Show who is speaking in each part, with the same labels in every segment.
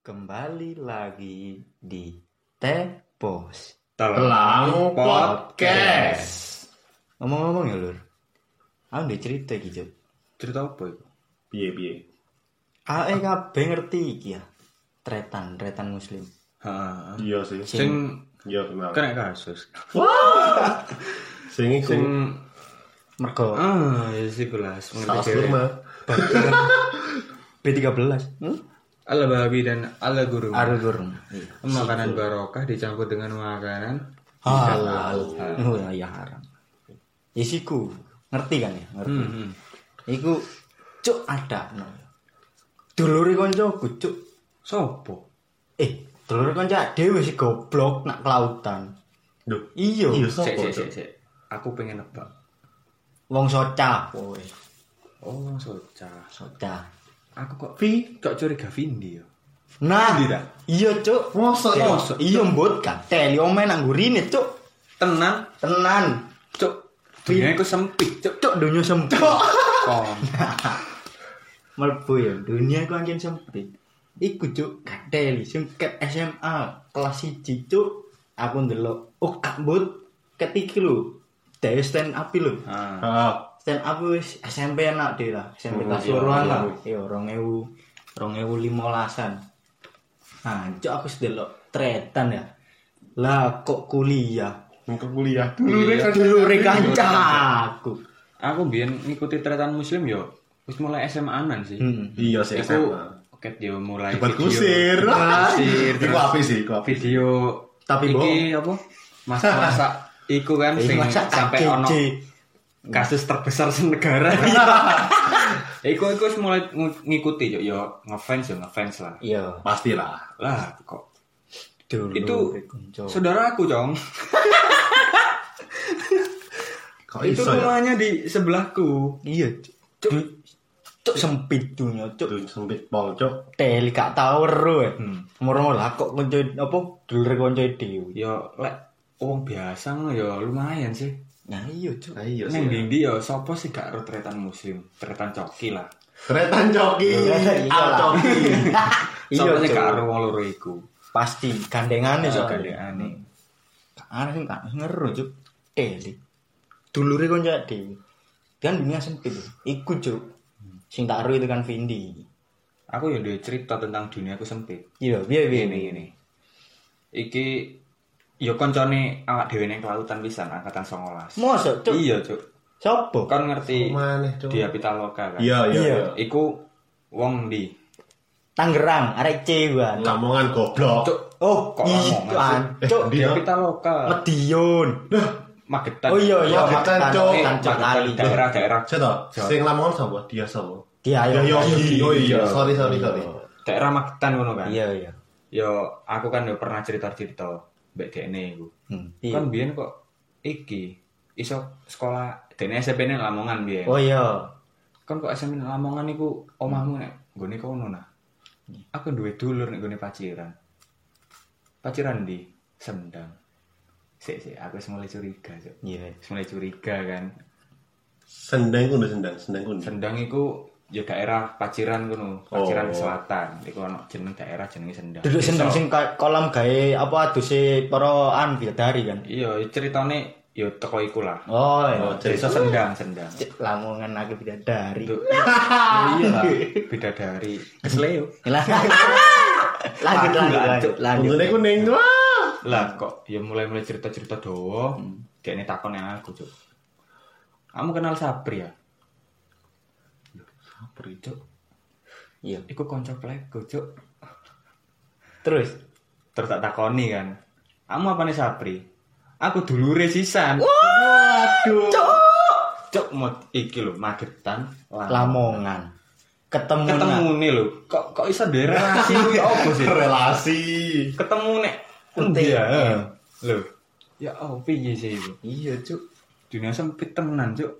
Speaker 1: kembali lagi di Tepos
Speaker 2: Telang
Speaker 3: Podcast.
Speaker 1: Ngomong-ngomong ya lur Aku udah cerita iki Cuk.
Speaker 2: Cerita apa itu?
Speaker 3: Piye piye.
Speaker 1: Ae Ah, eh, kabeh ngerti iki ya Tretan, tretan muslim
Speaker 2: Ha.
Speaker 3: Iya sih.
Speaker 2: Sing
Speaker 3: Iya kenal.
Speaker 2: kena kasus.
Speaker 3: Sing iku
Speaker 2: Sing
Speaker 3: Hmm.
Speaker 1: Mergo
Speaker 2: ah ya sih kelas.
Speaker 3: saus kurma.
Speaker 1: B13 hmm?
Speaker 2: Ala babi dan ala guru.
Speaker 3: Ah,
Speaker 1: Arugurung Iya.
Speaker 2: Makanan barokah dicampur dengan makanan
Speaker 1: Halal Oh ya, ya haram Isiku Ngerti kan ya? Ngerti
Speaker 2: Hmm.
Speaker 1: Iku Cuk ada no. Duluri koncoku Cuk
Speaker 2: Sopo?
Speaker 1: Eh, dulur kanca dhewe sih goblok nak kelautan.
Speaker 3: Duh.
Speaker 1: Iya.
Speaker 2: Cek
Speaker 3: Iya sopo?
Speaker 2: cek cek
Speaker 3: Cuk?
Speaker 2: cek. Aku pengen nebak.
Speaker 1: Wong soca kowe.
Speaker 2: Oh, soca.
Speaker 1: Soca.
Speaker 2: Aku kok Vi kok curiga Vindi ya?
Speaker 1: Nah,
Speaker 2: Endi ta?
Speaker 1: iya, Cuk.
Speaker 3: Mosok
Speaker 1: Iya,
Speaker 2: mosok,
Speaker 1: Iya, mbut katel yo men nang gurine, Cuk.
Speaker 2: Tenang,
Speaker 1: Tenan.
Speaker 2: Cuk. Dunia aku sempit, Cuk.
Speaker 1: Cuk dunia sempit. Oh.
Speaker 2: Kon.
Speaker 1: Mlebu ya, dunia ku angin sempit. Iku Cuk, katel sing ket SMA kelas 1, Cuk. Aku ndelok, oh kak mbut ketiki lho. Dewe stand up lho.
Speaker 2: Ah.
Speaker 3: Ah,
Speaker 1: stand up wis SMP enak deh lah SMP
Speaker 3: Oh,
Speaker 1: kelas
Speaker 3: iya,
Speaker 1: loroan
Speaker 3: iya.
Speaker 1: lah iya rong ewu rong ewu limolasan nah cok aku sedelok tretan ya lah kok kuliah
Speaker 3: muka kuliah. Iya.
Speaker 1: dulu rekanca aku
Speaker 2: Aku biyen ngikuti tretan muslim yo. Wis mulai SMA-an sih.
Speaker 1: hmm.
Speaker 3: Iya sih
Speaker 2: Aku
Speaker 3: SMA.
Speaker 2: ket yo mulai
Speaker 3: Cepat
Speaker 2: video-
Speaker 3: kusir.
Speaker 2: Kusir.
Speaker 3: Iku
Speaker 2: terus
Speaker 3: apa sih? Iku apa?
Speaker 2: Video
Speaker 1: Tapi
Speaker 2: iki apa? Masa-masa iku kan
Speaker 1: Ini
Speaker 2: sing
Speaker 1: masa
Speaker 2: sampai ono
Speaker 1: KKJ.
Speaker 2: kasus terbesar senegara. iku iku wis mulai ngu- ngikuti yo yo ngefans yo ngefans lah.
Speaker 1: iya
Speaker 3: Pastilah.
Speaker 2: Lah kok
Speaker 1: dulu
Speaker 2: Itu
Speaker 1: rekanca
Speaker 2: saudara aku, Cong.
Speaker 3: Kok
Speaker 2: Itu
Speaker 3: iso ya?
Speaker 2: rumahnya di sebelahku.
Speaker 1: iya cok cok sempit dunia cok
Speaker 3: Duh, sempit pol, Cuk.
Speaker 1: teli gak tau ero ya moro lah kok kanca apa dulu rekanca dhewe
Speaker 2: Yo lek wong biasa ngono yo lumayan sih.
Speaker 1: nah iya cok
Speaker 3: Ah, Iya
Speaker 2: Neng
Speaker 3: sih.
Speaker 2: dindi yo sapa sih gak ro tretan muslim, tretan coki lah.
Speaker 3: Tretan joki.
Speaker 1: Iya
Speaker 3: Ah,
Speaker 1: lah.
Speaker 3: joki.
Speaker 1: Cuk.
Speaker 2: Iya, sih gak ro wong loro iku.
Speaker 1: pasti gandengane
Speaker 2: Iso
Speaker 1: soalnya
Speaker 2: gandeane.
Speaker 1: Arah sing tak ngeru cuk. Eli. Dulure konco dhewe. Kan dunia sempit. ya. Iku cuk. Sing tak ru itu kan Vindi.
Speaker 2: Aku yo duwe cerita tentang duniaku sempit.
Speaker 1: Iya, piye piye
Speaker 2: Ini ini. Iki yo koncone awak dhewe neng kelautan pisan angkatan 19.
Speaker 1: Mosok cuk.
Speaker 2: Iya, Cuk.
Speaker 1: Sopo?
Speaker 2: Kan ngerti
Speaker 3: Maneh, Cuk.
Speaker 2: dia pitaloka kan.
Speaker 3: Iya, iya.
Speaker 1: Iya.
Speaker 3: iya.
Speaker 2: Iku wong di
Speaker 1: Tangerang, arek Cewan.
Speaker 3: Lamongan goblok.
Speaker 2: Cuk,
Speaker 1: Oh,
Speaker 2: Kok ngomong,
Speaker 1: iya,
Speaker 3: Eh,
Speaker 1: cuk.
Speaker 3: di-
Speaker 2: dia pitaloka
Speaker 1: Medion.
Speaker 2: Magetan. Eh,
Speaker 1: Oh iya iya, Magetan,
Speaker 3: Magetan, Cuk.
Speaker 1: Magetan, Cuk,
Speaker 2: Magetan,
Speaker 1: kali.
Speaker 2: daerah-daerah
Speaker 3: Siapa? Sing Lamongan sapa? Dia sapa?
Speaker 1: Dia
Speaker 3: Ya
Speaker 1: ayo.
Speaker 3: Yogi. Oh iya, sorry sorry sorry.
Speaker 2: daerah Magetan ngono kan.
Speaker 1: Iya iya.
Speaker 2: Yo aku kan yo pernah cerita-cerita mbek dekne iku.
Speaker 1: Hmm, Iya.
Speaker 2: Kan biyen kok iki iso sekolah dekne SMP ning Lamongan biyen.
Speaker 1: Oh iya.
Speaker 2: Kan kok SMP ning Lamongan iku omahmu nek nggone kono nah. Aku duwe dulur nek nggone paciran. Paciran di Sendang. Sik sik aku wis mulai curiga, Cuk.
Speaker 1: Iya.
Speaker 2: Wis mulai curiga kan.
Speaker 3: Sendang kudu sendang, sendang kudu.
Speaker 2: Sendang iku ya daerah Paciran kono, Paciran
Speaker 3: Oh.
Speaker 2: Selatan. Iku ono jeneng daerah jenenge Sendang.
Speaker 1: Duduk
Speaker 2: Iso-
Speaker 1: sendang sing ka- kolam gawe apa aduse para anfil dari kan.
Speaker 2: Iya, ceritane ya teko iku lah.
Speaker 1: Oh
Speaker 2: Oh,
Speaker 1: iya.
Speaker 2: cerita sendang, sendang.
Speaker 1: Cek, Lamongan aku bidadari.
Speaker 2: Itu iya lah, beda dari kesleo.
Speaker 1: Lah. lanjut
Speaker 2: Aduh,
Speaker 1: lanjut
Speaker 2: lanjut,
Speaker 1: lanjut lanjut.
Speaker 3: Untungnya kuning. Wah.
Speaker 2: Lah kok ya mulai-mulai cerita-cerita dowo. Dia ini takon yang aku, Cuk. Kamu kenal Sabri ya? Sabri, Cuk.
Speaker 1: Iya.
Speaker 2: Iku konco pleku, Cuk.
Speaker 1: Terus
Speaker 2: Terus tak takoni kan. Kamu apa nih Sabri? Aku dulure sisan.
Speaker 3: Aduh.
Speaker 2: Cuk, mau iki lho, Magetan.
Speaker 1: Lamongan. Ketemu
Speaker 2: Ketemu nih lho. Kok kok iso daerah sih? Apa sih?
Speaker 3: Relasi.
Speaker 2: ketemu nek
Speaker 1: Undi.
Speaker 2: Iya. lho ya oh piye sih itu
Speaker 1: Iya, Cuk.
Speaker 2: dunia sempit tenan cuk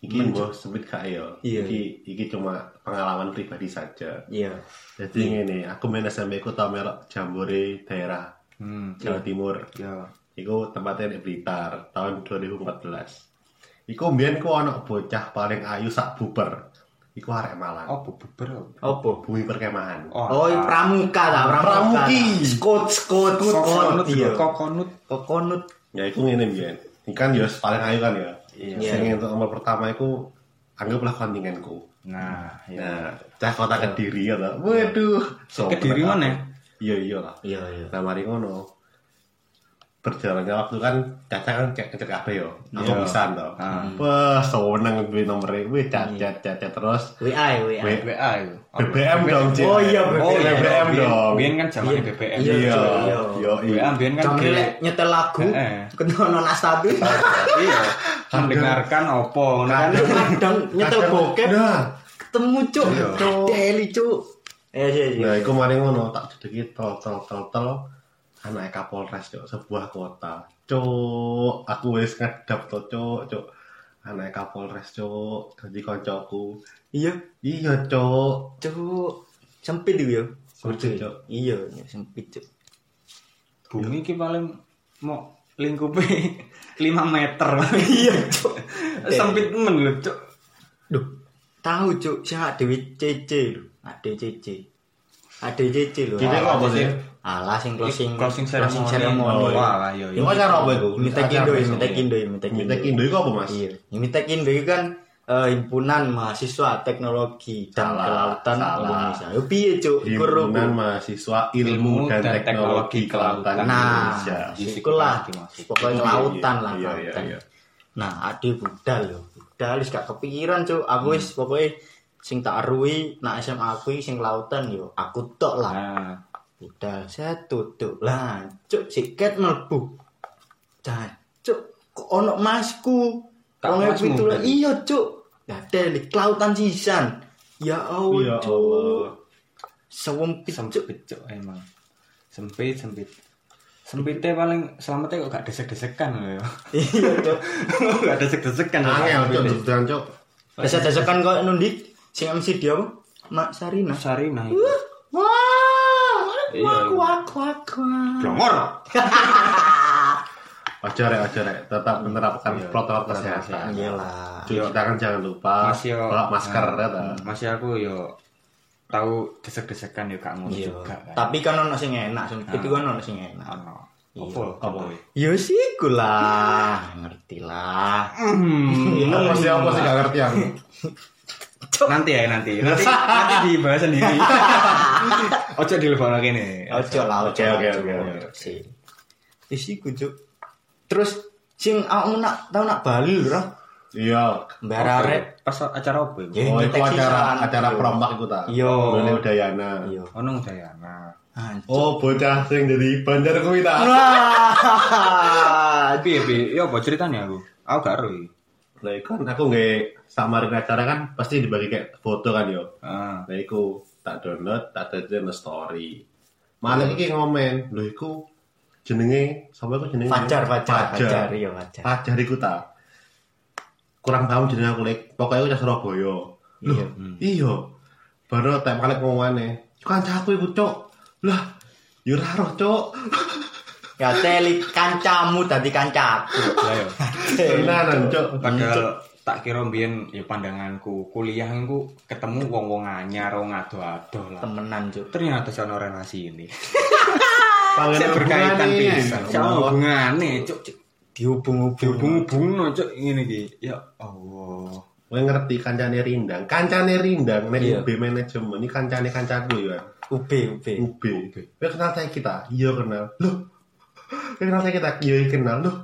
Speaker 3: Iki mbok sempit gak ya.
Speaker 1: Iya.
Speaker 3: Iki iki cuma pengalaman pribadi saja.
Speaker 1: Iya.
Speaker 3: Jadi ngene, aku main SMP ku tau melok jambore daerah
Speaker 2: hmm
Speaker 3: Jawa Timur.
Speaker 2: ya
Speaker 3: Iku tempatnya di Blitar tahun 2014. Iku mbien ku ono bocah paling ayu sak buper. Iku arek Malang.
Speaker 2: Apa bubar apa?
Speaker 1: Opo?
Speaker 3: Bumi perkemahan.
Speaker 1: Oh,
Speaker 2: ah.
Speaker 1: pramuka ta, pramuka.
Speaker 3: Pramuki.
Speaker 1: Skot, skot,
Speaker 2: Kokonut
Speaker 1: skot.
Speaker 2: juga,
Speaker 1: Iya.
Speaker 2: kokonut.
Speaker 1: Kokonut.
Speaker 3: Ya iku ngene biyen. Ini kan ya paling ayu kan ya.
Speaker 2: Iya.
Speaker 3: Sing untuk nomor pertama iku anggaplah kontingenku.
Speaker 2: Nah, ya.
Speaker 3: Nah, cah kota Kediri ya ta. Waduh. So,
Speaker 2: Kediri mana ya?
Speaker 3: Iya iya lah.
Speaker 1: Iya, iya.
Speaker 3: Nah, mari ngono. Berjalannya waktu kan Caca kan cek cek kabeh yo. Aku
Speaker 2: Iya.
Speaker 3: pisan to.
Speaker 2: Ah.
Speaker 3: Wah, seneng duwe nomere kuwi Caca
Speaker 1: Iya.
Speaker 3: Caca Caca terus
Speaker 1: WA, WA.
Speaker 3: W-
Speaker 2: WA itu.
Speaker 3: BBM dong, Cik.
Speaker 1: Oh, iya,
Speaker 2: Oh, iya,
Speaker 3: BBM dong.
Speaker 2: Biyen kan zaman
Speaker 1: Iya. Iya.
Speaker 2: BBM.
Speaker 3: Iya.
Speaker 1: Iya.
Speaker 3: Yo,
Speaker 2: WA biyen kan
Speaker 1: Jangan
Speaker 2: gede.
Speaker 1: lek nyetel lagu,
Speaker 2: Heeh.
Speaker 1: kena nasab.
Speaker 2: Iya. Mendengarkan opo ngono kan.
Speaker 1: Kadang nyetel bokep,
Speaker 3: Nah,
Speaker 1: ketemu cuk.
Speaker 2: Iya.
Speaker 1: Deli cuk. Iya, iya, iya.
Speaker 3: nah iku mari ngono tak jedeki tol tol tol tol anak Kapolres cok sebuah kota. Cok, aku wis ngedap to cok, cok. Anak Kapolres cok, dadi koncoku.
Speaker 1: Iya,
Speaker 3: Iya cok.
Speaker 1: cuk. Sempit iku yo.
Speaker 3: Sempit, Cuk.
Speaker 1: Iya, iya, sempit cuk.
Speaker 2: Bumi iki paling mau lingkupe 5 meter.
Speaker 1: Iya, cuk.
Speaker 2: Sempit men lho, Cuk.
Speaker 1: Duh, tahu cuk, sing ada dewe CC lho, ada CC. Ada CC lho.
Speaker 3: Jadi
Speaker 1: Alah,
Speaker 3: apa sih?
Speaker 1: Alah sing closing
Speaker 2: Closing ceremony.
Speaker 1: ceremony.
Speaker 2: Oh, Wah, iya,
Speaker 1: Ini
Speaker 2: iya.
Speaker 3: Ini acara apa itu?
Speaker 1: Mitek
Speaker 3: Acara
Speaker 1: Indo,
Speaker 3: apa itu?
Speaker 1: Mitek Indo, Mitek
Speaker 3: Mitek
Speaker 1: Indo.
Speaker 3: Indo iku apa, Mas?
Speaker 1: Iya. Mitek Indo itu kan eh, himpunan mahasiswa teknologi dan
Speaker 3: Salah,
Speaker 1: kelautan
Speaker 3: salah.
Speaker 1: Indonesia. Yo piye cuk? Guru.
Speaker 3: Himpunan Mahasiswa Ilmu dan Teknologi Kelautan
Speaker 1: Nah,
Speaker 3: Indonesia.
Speaker 1: ikulah pokoknya kelautan lah.
Speaker 3: Iya, iya,
Speaker 1: kelautan.
Speaker 3: iya.
Speaker 1: Nah, ade budal yo. Budal wis gak kepikiran, Cuk. Aku wis pokoke sing tak arui nak SMA aku iki sing lautan yo. Aku tok lah.
Speaker 2: Nah,
Speaker 1: Budal saya tutup lah. Cuk, siket mlebu. Cuk, kok ono masku.
Speaker 2: Tak
Speaker 1: Ono
Speaker 2: masmu,
Speaker 1: pitu lah.
Speaker 2: berarti?
Speaker 1: Iya, Cuk. Dadi kelautan sisan. Ya
Speaker 3: Ya
Speaker 1: Allah,
Speaker 3: Allah.
Speaker 1: Cuk. Sewempit, Cuk.
Speaker 2: sempit cok emang sempit sempit sempitnya paling selamatnya kok gak desek-desekan loh ya
Speaker 1: Iya, Cuk.
Speaker 2: gak desek-desekan
Speaker 3: Angel cok, jebdan cok.
Speaker 1: Desa-desakan kok nundi sing MC dia apa? Mak Sarina.
Speaker 2: Sarina itu
Speaker 1: Wah,
Speaker 2: Iya,
Speaker 1: aku
Speaker 2: iya.
Speaker 1: aku aku.
Speaker 2: blongor
Speaker 3: Ojo rek, ojo rek. ya, Tetap menerapkan protokol kesehatan.
Speaker 1: Iyalah.
Speaker 3: Cuci tangan jangan lupa.
Speaker 2: masih yo
Speaker 3: Kalau Ah, masker
Speaker 2: Nah,
Speaker 3: ya ta.
Speaker 2: masih aku yo tahu desek-desekan yo gak ngono
Speaker 1: Iya.
Speaker 2: juga kan
Speaker 1: Tapi kan ono sing enak,
Speaker 3: Ah.
Speaker 1: sempit itu kan ono sing enak.
Speaker 2: Ono.
Speaker 1: Iya.
Speaker 2: opo opo
Speaker 1: Ya sih lah, ngerti lah.
Speaker 3: Eh,
Speaker 2: Hmm.
Speaker 3: Apa sih apa sih gak ngerti aku.
Speaker 2: nanti ya nanti nanti nanti dibahas sendiri ojo di lebih kene
Speaker 1: Ojo lah, ojo.
Speaker 3: Oke, oke,
Speaker 1: ojo,
Speaker 3: oke,
Speaker 1: ojo.
Speaker 3: oke.
Speaker 1: Sih. Isi kucuk. Terus sing aku nak tau nak Bali lho.
Speaker 3: Iya.
Speaker 1: Mbarare.
Speaker 2: pas acara opo itu
Speaker 1: Iya.
Speaker 3: Oh itu
Speaker 1: Ngetek
Speaker 3: acara
Speaker 1: sisan.
Speaker 3: acara
Speaker 1: Iya.
Speaker 3: perompak iku ta.
Speaker 1: Iya.
Speaker 3: Bone Udayana.
Speaker 1: Iya.
Speaker 2: ono Dayana
Speaker 1: Hancur.
Speaker 3: Oh bocah sing jadi bandar kuwi ta.
Speaker 1: Wah.
Speaker 2: Piye piye, ya apa ceritanya aku? Aku gak ero iki.
Speaker 3: Nah, iku kan aku nggak samarin acara kan pasti dibagi kayak foto kan yo.
Speaker 2: Ah,
Speaker 3: Nah, iku tak download, tak download no story. Malah
Speaker 1: Hmm.
Speaker 3: iki ngomen, lho iku jenenge sapa iku jenenge?
Speaker 1: Fajar, fajar,
Speaker 3: Fajar.
Speaker 1: fajar, iya fajar.
Speaker 3: Fajar iku ta. Kurang paham jenenge aku lek. Pokoke aku Surabaya. Lho,
Speaker 1: Iya.
Speaker 3: iya. Baru tak kali ngomongne. Kancaku iku, Cok. Lah, yo ora roh, Cok.
Speaker 1: Ya teli kancamu dadi kancaku.
Speaker 2: lah yo.
Speaker 3: Tenanan, Cok.
Speaker 2: Padahal tak kira mbiyen ya pandanganku, kuliah ku ketemu wong-wong anyar, wong ado-ado lah.
Speaker 1: Temenan, Cuk.
Speaker 2: Ternyata sono relasi ini.
Speaker 3: Pangeran
Speaker 2: Saya berkaitan
Speaker 3: hubungane.
Speaker 2: pisan. Sono hubungane, cuk. cuk.
Speaker 1: Dihubung-hubung.
Speaker 2: Dihubung-hubungno, cuk, ngene iki. Ya Allah.
Speaker 3: Gue ngerti kancane Rindang. Kancane Rindang nek
Speaker 1: Iya.
Speaker 3: UB manajemen ini kancane kancaku ya.
Speaker 1: UB, UB.
Speaker 3: UB. Gue kenal saya kita. Iya kenal. Loh. Gue kenal saya kita. Iya kenal. Loh.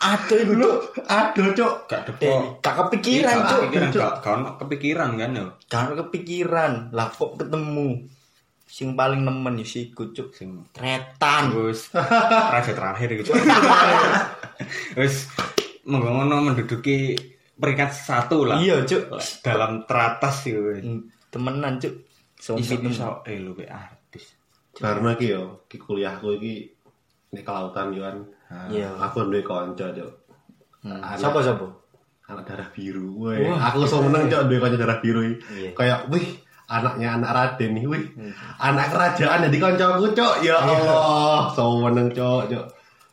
Speaker 1: Ada iku, Cuk.
Speaker 3: Loh. Aduh, Cok.
Speaker 2: Gak
Speaker 1: Deli.
Speaker 2: depok.
Speaker 1: Gak kepikiran,
Speaker 2: Iya, Gak
Speaker 1: Cuk.
Speaker 2: kepikiran, gak- gak ono kepikiran kan yo.
Speaker 1: Gak kepikiran. Lah kok ketemu. Sing paling nemen ya si Cuk.
Speaker 2: Sing
Speaker 1: Tretan.
Speaker 2: Wis terakhir terakhir gitu. Wis monggo ngono menduduki peringkat satu lah.
Speaker 1: Iya, Cuk.
Speaker 2: Dalam teratas gitu. wis.
Speaker 1: Hmm. Temenan, Cuk.
Speaker 2: Iso
Speaker 1: Sompit
Speaker 2: iso eh lu kayak artis.
Speaker 3: Karena iki yo, ki kuliahku iki nek kelautan yo kan.
Speaker 1: Iya.
Speaker 3: Aku duwe kanca, Cok.
Speaker 1: Hmm.
Speaker 3: Anak-
Speaker 1: Sopo sopo?
Speaker 3: Anak darah biru. Woi, aku seneng Cok duwe kanca darah biru. iki.
Speaker 1: Iya. Hmm.
Speaker 3: Kayak wih, anaknya anak Raden iki, wih. Anak kerajaan jadi kancaku, Cok. Ya Allah, seneng, Cok, Cok.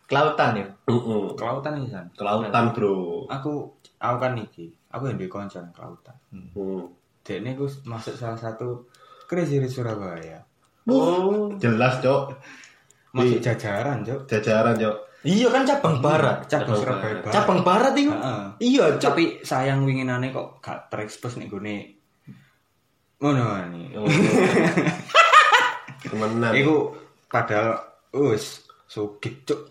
Speaker 1: Kelautan ya.
Speaker 3: Heeh.
Speaker 2: Kelautan ini kan.
Speaker 3: Kelautan, Bro.
Speaker 2: Aku aku kan iki. Aku yang duwe kancan kelautan.
Speaker 3: Hmm.
Speaker 2: Dekne ku masuk salah satu Crazy Rich Surabaya.
Speaker 1: Oh.
Speaker 3: Jelas, Cok.
Speaker 2: Masuk
Speaker 3: Di-
Speaker 2: jajaran, Cok.
Speaker 3: Jajaran, Cok.
Speaker 1: Iya kan cabang barat.
Speaker 2: Cabang
Speaker 3: Cabang
Speaker 2: Surabaya.
Speaker 3: Barat.
Speaker 2: Barat.
Speaker 1: Cabang barat itu.
Speaker 2: Heeh.
Speaker 1: Iya, cok.
Speaker 2: Tapi sayang winginane kok gak terekspos nih gue Ngono nih.
Speaker 3: Temenan.
Speaker 2: Iku padahal us sugih cuk.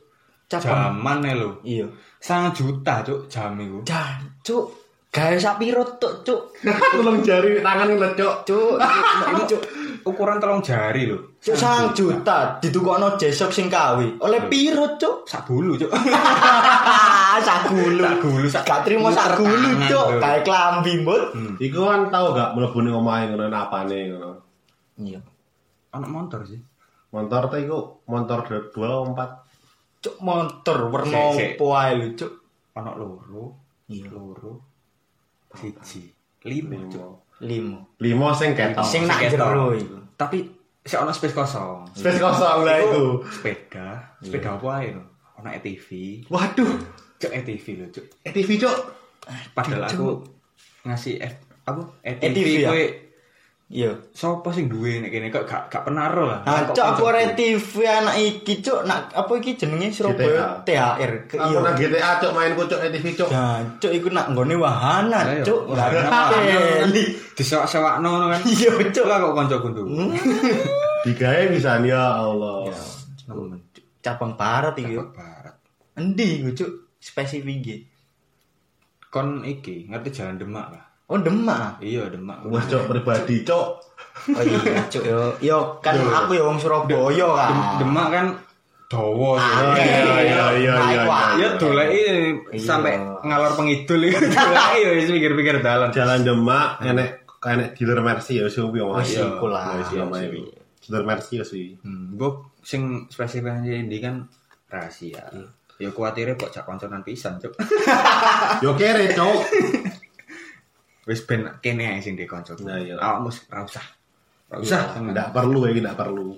Speaker 1: Cabang.
Speaker 2: Jaman e lho.
Speaker 1: Iya.
Speaker 2: Sangat juta cuk jam iku.
Speaker 1: Dan cok. Gaya sapi rotok cok.
Speaker 3: Tolong jari tangan ngeliat, Cuk.
Speaker 1: Cok. Ini cok.
Speaker 2: Ukuran telung jari lho.
Speaker 1: Cok sang juta ditukokno jesok sing kawi oleh piro cok.
Speaker 2: Sak bulu cuk.
Speaker 1: Ah, sak gulu.
Speaker 2: Sak gulu, sak-
Speaker 1: Gak trimo sak gulu cok.
Speaker 2: Tangan, Cuk. Hmm.
Speaker 1: Kayak klambi mbut.
Speaker 3: Iku kan tau gak mlebu ning omahe ngono apane ngono.
Speaker 1: Iya.
Speaker 2: Anak motor sih.
Speaker 3: Motor tuh iku motor dua- dua atau empat.
Speaker 1: Cok motor warna
Speaker 2: Sik, sik.
Speaker 1: opo ae lho cok.
Speaker 2: Anak loro.
Speaker 1: Iya.
Speaker 2: Loro. Siji. Lima cuk.
Speaker 1: Limo.
Speaker 3: Limo sing ketok.
Speaker 1: Sing nak
Speaker 2: sing ketok.
Speaker 1: jero iku.
Speaker 2: Tapi sik ono space kosong.
Speaker 3: Space kosong lah iku.
Speaker 2: Sepeda. Sepeda apa ae lho. Ono ATV.
Speaker 3: Waduh,
Speaker 2: Cuk ATV lho cuk.
Speaker 3: ATV, Cuk.
Speaker 2: Padahal aku ngasih F aku ATV,
Speaker 1: ATV, E ya?
Speaker 2: kowe
Speaker 1: Iya.
Speaker 2: Sopo sing duwe nek kene kok gak gak penaro
Speaker 1: Nah,
Speaker 2: lah. Ah, Kok
Speaker 1: cok Ah, aku
Speaker 2: konsepku.
Speaker 1: ora TV anak iki cok nak apa iki jenenge Surabaya THR. Ke-
Speaker 3: Aku
Speaker 1: Iya.
Speaker 3: nang GTA, Cuk, mainku, Cuk, ATV, Cuk.
Speaker 1: Nah, cok iku nak nggone wahana
Speaker 2: Ayo,
Speaker 1: cok.
Speaker 2: wah,
Speaker 1: Lah teli.
Speaker 2: Disewak-sewakno ngono kan.
Speaker 1: Iya, Cuk. Hmm?
Speaker 2: Lah kok kancaku ndu.
Speaker 3: Digawe bisa ya Allah.
Speaker 2: Nemen.
Speaker 1: Cabang barat iki. Cuk.
Speaker 2: Jawa Barat.
Speaker 1: Endi iku cok? Spesifik iki.
Speaker 2: Kon iki ngerti jalan Demak lah.
Speaker 1: Oh Demak.
Speaker 2: Iya Demak.
Speaker 3: Wes, Cuk, pribadi, Cuk.
Speaker 1: Oh iya cok yo. Yo kan aku yo wong Surabaya kan.
Speaker 2: Dem- Demak kan dawa. ya.
Speaker 1: Ah,
Speaker 3: Iya, iya, iya, iya,
Speaker 2: Ya
Speaker 3: iya.
Speaker 2: doleki sampai ngalor pengidul iku doleki ya wis mikir-mikir dalan.
Speaker 3: Jalan Demak enek enek dealer Mercy ya sing kuwi omahe.
Speaker 1: Wis, iku lah.
Speaker 3: Wis, omahe
Speaker 1: iya,
Speaker 3: iku. Dealer Mercy ya sih.
Speaker 2: Hmm, gua sing spesifikasi ini kan rahasia. Ya kuatirnya kok cak konconan pisan, Cuk.
Speaker 3: Yo kere, Cuk.
Speaker 2: wis ben kene ae sing dikonco.
Speaker 3: Nah, iya.
Speaker 2: Awakmu s- ra usah. Ra usah.
Speaker 3: Ndak perlu iki, ndak perlu.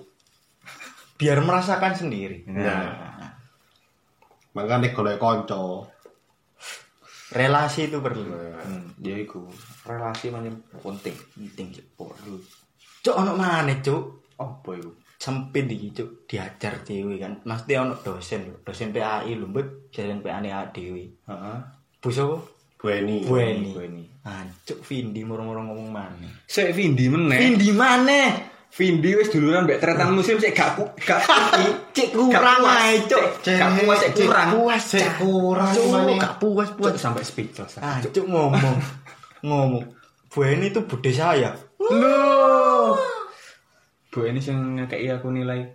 Speaker 1: Biar merasakan sendiri.
Speaker 3: Nah. Makane golek kanca.
Speaker 1: Relasi itu perlu.
Speaker 2: Hmm, ya iku. Relasi pancen penting.
Speaker 1: Penting cok.
Speaker 2: Perlu.
Speaker 1: Cok ono maneh cok?
Speaker 2: Apa iku?
Speaker 1: sempit iki cuk diajar dhewe kan mesti ono dosen lho. dosen PAI lho mbet dosen PA ne awake dhewe
Speaker 2: Heeh.
Speaker 1: Bu sapa
Speaker 3: Bueni.
Speaker 1: Bu Eni
Speaker 2: Bu Eni.
Speaker 1: ah cuk Vindi murung-murung ngomong maneh
Speaker 2: Sik Vindi meneh.
Speaker 1: Vindi maneh
Speaker 2: Vindi wis duluran mbek tretan musim sik gak ku- gak
Speaker 1: cek Ah. kurang
Speaker 2: puas.
Speaker 1: ae cuk
Speaker 2: Cek- gak puas, cek kurang.
Speaker 1: puas
Speaker 3: Cek
Speaker 1: cak.
Speaker 3: kurang
Speaker 1: ya? Cuk,
Speaker 3: maneh.
Speaker 1: gak puas puas
Speaker 2: Cuk sampai speechless.
Speaker 1: ah
Speaker 2: aku, Cuk.
Speaker 1: cuk ngomong ngomong Bu Eni itu bude saya
Speaker 3: Loh.
Speaker 2: Bu ini sing ngekeki aku nilai.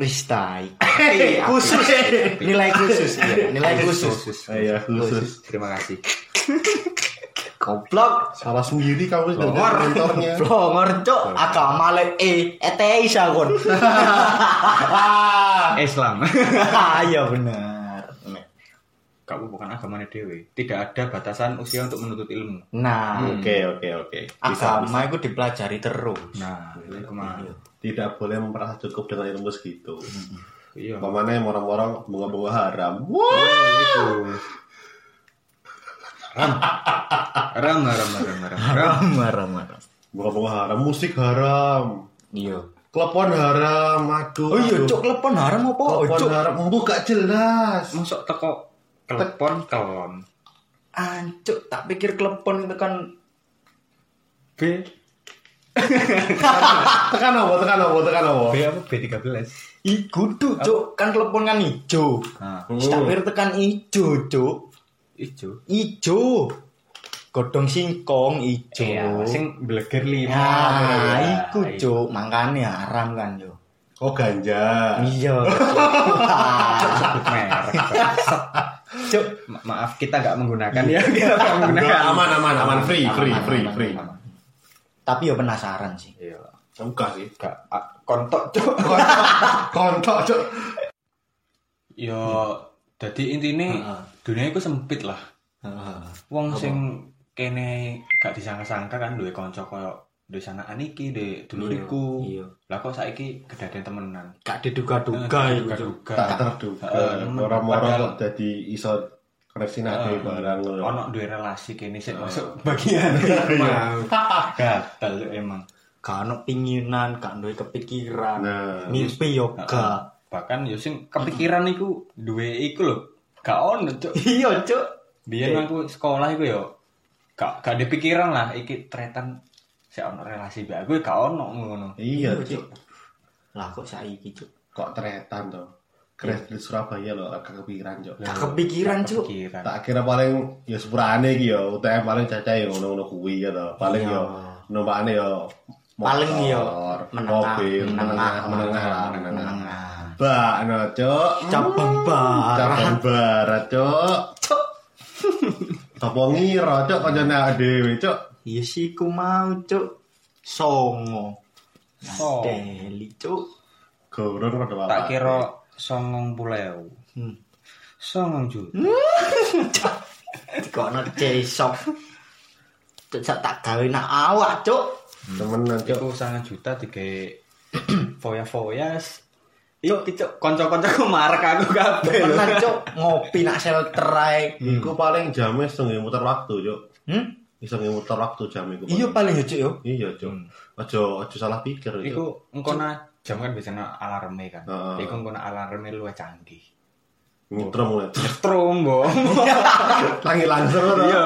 Speaker 1: wis tai
Speaker 2: Apik, apik.
Speaker 1: khusus nilai khusus iya, nilai khusus
Speaker 2: Khusus.
Speaker 3: Iya, khusus.
Speaker 2: Terima kasih.
Speaker 3: iya.
Speaker 1: goblok
Speaker 3: Salah sendiri kamu dengan
Speaker 1: Longor.
Speaker 3: mentornya.
Speaker 1: Blongor cok, agama le e ETI sakon.
Speaker 2: Eh, Islam.
Speaker 1: Iya bener.
Speaker 2: Kamu bukan agamanya dewe. Tidak ada batasan usia untuk menuntut ilmu.
Speaker 1: Nah,
Speaker 3: Hmm, Oke, oke, oke. Bisa, bisa.
Speaker 1: agama itu dipelajari terus.
Speaker 2: Nah, itu kemarin.
Speaker 3: Tidak boleh merasa cukup dengan ilmu segitu.
Speaker 1: Hmm.
Speaker 2: Iya.
Speaker 3: Pamannya morong-morong bunga-bunga haram.
Speaker 1: Oh,
Speaker 3: Wah.
Speaker 1: gitu.
Speaker 2: itu ram ram ram ram ram
Speaker 1: Marah, marah.
Speaker 3: Bunga-bunga haram, musik haram,
Speaker 1: Iya.
Speaker 3: klepon haram, aduh.
Speaker 1: Oh iya
Speaker 3: aduh.
Speaker 1: cok, lepon haram apa? Oh
Speaker 3: Klepon
Speaker 1: cok.
Speaker 3: haram, embu gak jelas.
Speaker 2: masuk teko telepon kelon
Speaker 1: Ancuk, tak pikir klepon itu kan
Speaker 2: b
Speaker 3: Tekan apa, tekan apa, tekan apa.
Speaker 2: b apa b 13
Speaker 1: i kudu cok, kan klepon kan ijo.
Speaker 2: nah
Speaker 3: Hmm.
Speaker 1: Tak pikir tekan ijo cok.
Speaker 2: ijo
Speaker 1: Ijo. Godong singkong ijo.
Speaker 2: Iya, sing bleger lima iya,
Speaker 1: Nah, iku cuk, mangkane haram kan yo.
Speaker 3: Oh ganja.
Speaker 1: Iya.
Speaker 2: sebut merek
Speaker 1: Cuk,
Speaker 2: Ma- maaf kita nggak menggunakan ya kita nggak
Speaker 3: Enggak,
Speaker 2: menggunakan
Speaker 3: aman, aman, aman, free,
Speaker 1: Aman,
Speaker 3: free,
Speaker 1: aman,
Speaker 3: free,
Speaker 1: aman,
Speaker 3: free.
Speaker 1: aman. tapi yo penasaran sih.
Speaker 2: iya
Speaker 3: Enggak sih.
Speaker 2: nggak a- kontok cuk
Speaker 3: Kontok, kontok, cok.
Speaker 2: yo Iya, jadi intinya dunia itu sempit lah
Speaker 1: Ah,
Speaker 2: wong sing kene gak disangka-sangka kan duwe kanca koyo duwe sanaan iki duwe duluriku
Speaker 1: Iya.
Speaker 2: lah kok saiki kedaden temenan
Speaker 1: Gak diduga-duga
Speaker 2: Eh,
Speaker 1: iku. Cuk.
Speaker 2: duga-duga.
Speaker 3: Tak terduga.
Speaker 2: Heeh,
Speaker 3: Moro-moro
Speaker 2: padahal-
Speaker 3: kok jadi iso kresinate barang ngono.
Speaker 2: ono duwe relasi kene sik masuk bagian
Speaker 1: Mau.
Speaker 2: gatel Cuk, emang
Speaker 1: gak ono pinginan gak duwe kepikiran
Speaker 3: Nah,
Speaker 1: mimpi yo gak
Speaker 2: bahkan yo sing kepikiran iku duwe iku lho gak ono cuk
Speaker 1: iya cuk
Speaker 2: biyen aku sekolah iku ya, yo gak gak dipikiran lah iki tretan sik ono relasi mbek aku gak ono ngono
Speaker 3: iya cuk.
Speaker 1: lah kok saiki cuk
Speaker 3: Kok teretan to. Crash di Surabaya lho agak kepikiran cuk.
Speaker 1: gak kepikiran Kan, cuk
Speaker 2: pikiran
Speaker 3: Tak kira paling ya sepurane iki ya UTM paling cacah ya ngono-ngono kuwi ya to. Paling
Speaker 1: Iya.
Speaker 3: ya numpakane ya
Speaker 1: Paling ya
Speaker 3: motor,
Speaker 1: menengah,
Speaker 3: mobil,
Speaker 1: menengah,
Speaker 3: menengah, menengah lah, menengah.
Speaker 1: menengah
Speaker 3: Bak, no, cuk.
Speaker 1: cabang barat
Speaker 3: Cabang barat, cuk.
Speaker 1: cuk
Speaker 3: Sopo ngira, cuk, kancane awake dhewe, cuk.
Speaker 1: iya sih ku mau cuk songo
Speaker 2: Oh.
Speaker 1: Deli cuk
Speaker 3: Gorong rada apa?
Speaker 2: tak kira songong pulau
Speaker 1: hmm.
Speaker 2: songong juta
Speaker 1: dikono cesok cuk sak tak gawe nak awak cuk
Speaker 3: temenan, cuk.
Speaker 2: Iku sangat juta tiga foya foya. Yuk, cok, konco-konco marek aku kabeh lho.
Speaker 1: tenan cuk ngopi nak shelter ae
Speaker 3: Iku paling jamnya setengah ya, muter waktu, cuk.
Speaker 1: hmm?
Speaker 3: Iso muter waktu jam iku.
Speaker 1: iya paling
Speaker 3: paling.
Speaker 1: ya cuk yo
Speaker 3: Iya, cuk. Aja aja salah pikir, cuk.
Speaker 2: Iku engko na jam kan biasanya alarme kan.
Speaker 3: Heeh.
Speaker 2: Iku engko na alarme luwih canggih.
Speaker 3: muter mulai.
Speaker 2: Trombo.
Speaker 3: Tangi langsung to.
Speaker 2: Iya.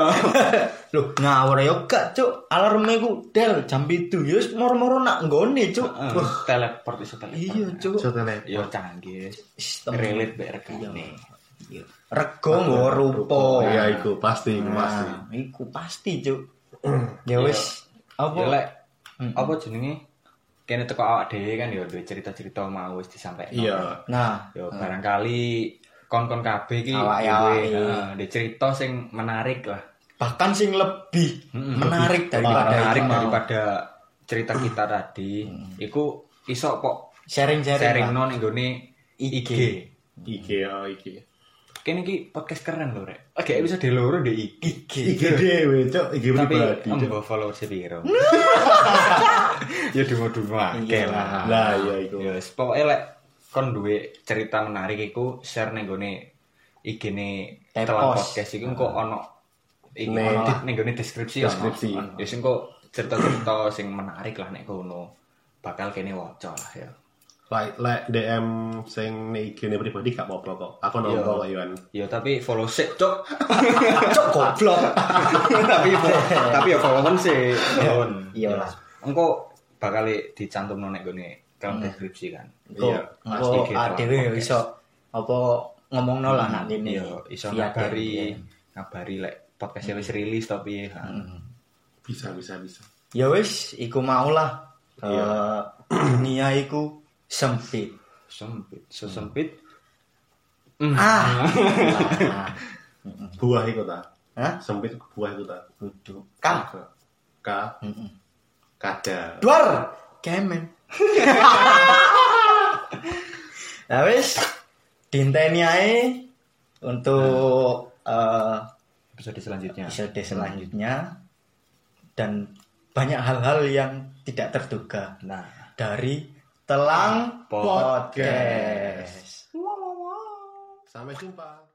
Speaker 1: lho ngawur yo gak cuk alarme ku del jam 7 yo wis moro-moro nak nggone cuk
Speaker 2: Heeh, Teleport iso teleport.
Speaker 1: iya cuk
Speaker 3: Aja telepon.
Speaker 2: Yo canggih.
Speaker 1: Wis, temen.
Speaker 2: Relate mbek rekane.
Speaker 1: Iya. rego nggo rupa
Speaker 3: Iya, iku pasti, iku pasti.
Speaker 1: Nah, iku pasti cuk ya wis
Speaker 2: Apa
Speaker 1: apa
Speaker 2: lek apa jenenge? Kene teko awak dhewe kan yo duwe cerita-cerita mau wis disampaikan.
Speaker 3: Iya.
Speaker 1: nah
Speaker 2: Yo barangkali kon-kon kabeh iki
Speaker 1: Awake- awake.
Speaker 2: di cerita sing menarik lah.
Speaker 1: bahkan sing lebih
Speaker 2: Mm-mm.
Speaker 1: menarik daripada
Speaker 2: menarik
Speaker 1: itu mau.
Speaker 2: daripada cerita kita tadi. Iku iso kok
Speaker 1: sharing-sharing
Speaker 2: sharing
Speaker 1: lah.
Speaker 2: non inggone IG.
Speaker 3: IG, ya, IG.
Speaker 2: Kene iki podcast keren lho, Rek. Oke, bisa di loro di IG.
Speaker 3: IG dhewe, cuk. IG
Speaker 2: Tapi
Speaker 3: pribadi, cuk.
Speaker 2: embo follower sepiro. ya dumo-dumo akeh
Speaker 1: Iya.
Speaker 2: lah.
Speaker 3: Lah, iya iku.
Speaker 2: Ya wis, pokoke lek kon duwe cerita menarik iku share ning gone IG-ne
Speaker 1: Tepos.
Speaker 2: telan podcast iku engko ono iku
Speaker 3: Nih.
Speaker 2: ono lah, ning gone deskripsi ono.
Speaker 3: Deskripsi.
Speaker 2: Ono. Ya sing engko cerita-cerita sing menarik lah nek kono bakal kene waca lah ya.
Speaker 3: Like, like DM sing nek IG ne pribadi gak apa-apa kok. Aku nongkrong kok Iwan.
Speaker 2: Ya tapi follow sik, Cok.
Speaker 1: cuk goblok
Speaker 2: tapi tapi ya followan sih. Followan.
Speaker 1: iya lah
Speaker 2: Engko bakal dicantumno nek gone
Speaker 1: Hmm.
Speaker 2: dalam deskripsi kan.
Speaker 3: Iya.
Speaker 1: Mas
Speaker 2: Oh,
Speaker 1: iki ah,
Speaker 2: telat
Speaker 1: dhewe yo
Speaker 2: podcast.
Speaker 1: iso apa ngomongno lah nak kene.
Speaker 2: Iya, iso
Speaker 1: Via Hmm.
Speaker 2: ngabari
Speaker 1: DM.
Speaker 2: ngabari lek podcast wis rilis tapi ya.
Speaker 1: Hmm.
Speaker 3: Bisa, bisa, bisa.
Speaker 1: Ya wis, iku mau lah. Eh, dunia iku sempit.
Speaker 2: sempit sesempit
Speaker 1: Ah.
Speaker 3: Buah iku ta.
Speaker 1: Hah?
Speaker 3: Sempit buah iku ta.
Speaker 1: Kudu. Kang.
Speaker 3: Ka,
Speaker 1: Mm-mm.
Speaker 3: kada.
Speaker 1: Duar. Kemen. Nah wis, dinteni ae untuk eh
Speaker 2: episode selanjutnya.
Speaker 1: episode selanjutnya dan banyak hal-hal yang tidak terduga
Speaker 2: Nah,
Speaker 1: dari Telang
Speaker 2: Podcast.
Speaker 1: Podcast.
Speaker 3: Sampai jumpa.